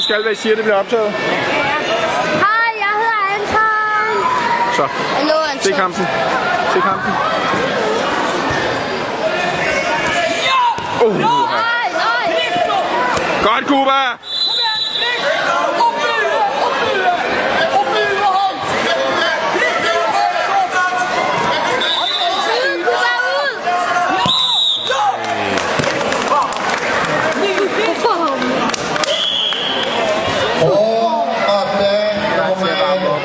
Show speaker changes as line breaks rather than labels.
skal, hvad I siger, det bliver optaget.
Hej, jeg hedder Anton.
Så,
Hallo, Anton.
se kampen. Se kampen. Uh,
Nej, nej.
godt, Kuba!